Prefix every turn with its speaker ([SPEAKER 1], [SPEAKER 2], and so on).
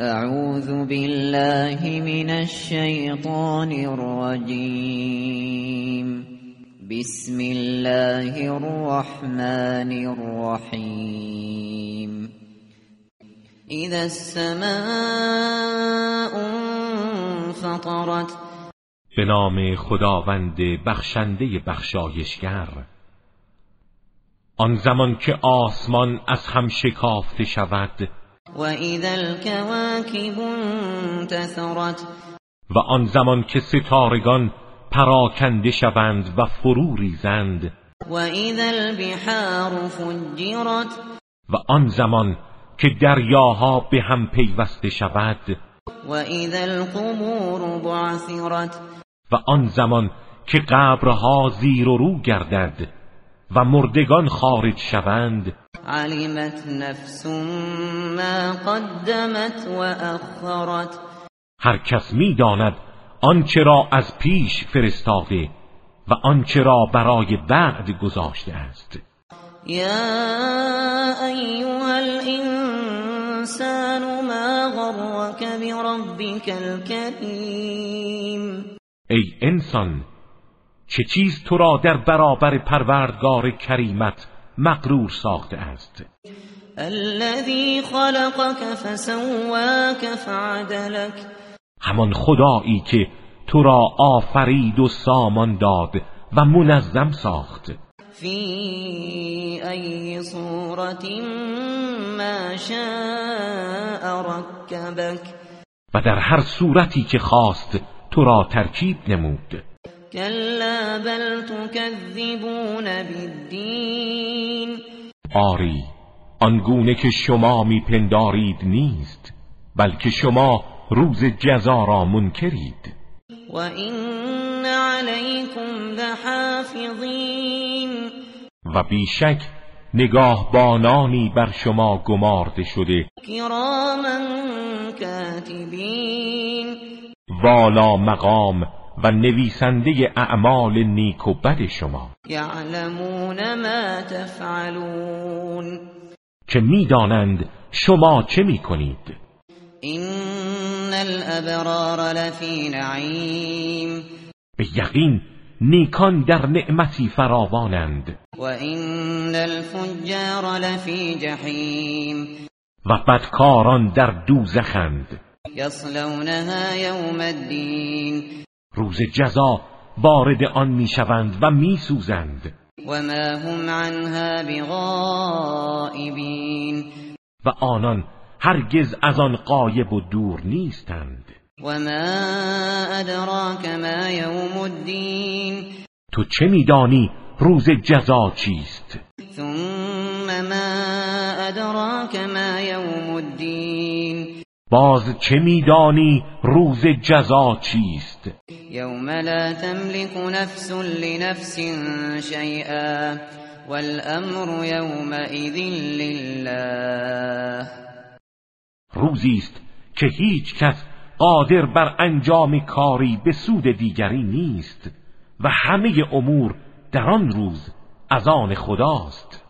[SPEAKER 1] أعوذ بالله من الشيطان الرجيم بسم الله الرحمن الرحيم إذا السماء انفطرت
[SPEAKER 2] به نام خداوند بخشنده بخشایشگر آن زمان که آسمان از هم شکافته شود
[SPEAKER 1] وإذا الكواكب انتثرت
[SPEAKER 2] و آن زمان که ستارگان پراکنده شوند و فرو ریزند
[SPEAKER 1] وإذا البحار فجرت
[SPEAKER 2] و آن زمان که دریاها به هم پیوسته شود
[SPEAKER 1] وإذا القبور بعثرت
[SPEAKER 2] و آن زمان که قبرها زیر و رو گردد و مردگان خارج شوند
[SPEAKER 1] علمت نفس ما قدمت وأخرت
[SPEAKER 2] هر کس میداند آنچه را از پیش فرستاده و آنچه را برای بعد گذاشته است
[SPEAKER 1] يا أيها الإنسان ما غرك بربك الكريم
[SPEAKER 2] ای انسان چه چیز تو را در برابر پروردگار کریمت مغرور ساخته است
[SPEAKER 1] الذي خلقك فسواك فعدلك
[SPEAKER 2] همان خدایی که تو را آفرید و سامان داد و منظم ساخت
[SPEAKER 1] في أي صورة ما شاء ركبك
[SPEAKER 2] و در هر صورتی که خواست تو را ترکیب نمود
[SPEAKER 1] كلا بل تكذبون بالدين
[SPEAKER 2] آری آنگونه که شما میپندارید نیست بلکه شما روز جزا را منکرید
[SPEAKER 1] وإن عليكم لحافظين
[SPEAKER 2] و بیشک نگاهبانانی بر شما گمارده شده
[SPEAKER 1] كراما كاتبين
[SPEAKER 2] والا مقام و نویسنده اعمال نیک و بد شما
[SPEAKER 1] يعلمون ما تفعلون
[SPEAKER 2] که میدانند شما چه میکنید
[SPEAKER 1] إن الأبرار لفي نعيم
[SPEAKER 2] به یقین نیکان در نعمتی فراوانند
[SPEAKER 1] وإن الفجار لفي جحيم
[SPEAKER 2] و بدکاران در دوزخند
[SPEAKER 1] يصلونها يوم الدين
[SPEAKER 2] روز جزا وارد آن میشوند و میسوزند
[SPEAKER 1] وما هم عنها بغائبين
[SPEAKER 2] و آنان هرگز از آن قایب و دور نیستند
[SPEAKER 1] وما أدراك ما يوم الدين
[SPEAKER 2] تو چه میدانی روز جزا چیست
[SPEAKER 1] ثم ما أدراك ما يوم الدين
[SPEAKER 2] باز چه میدانی روز جزا چیست
[SPEAKER 1] يوم لا تملك نفس لنفس شيئا والأمر يومئذ لله
[SPEAKER 2] روزی است که هیچ کس قادر بر انجام کاری به سود دیگری نیست و همه امور در آن روز از آن خداست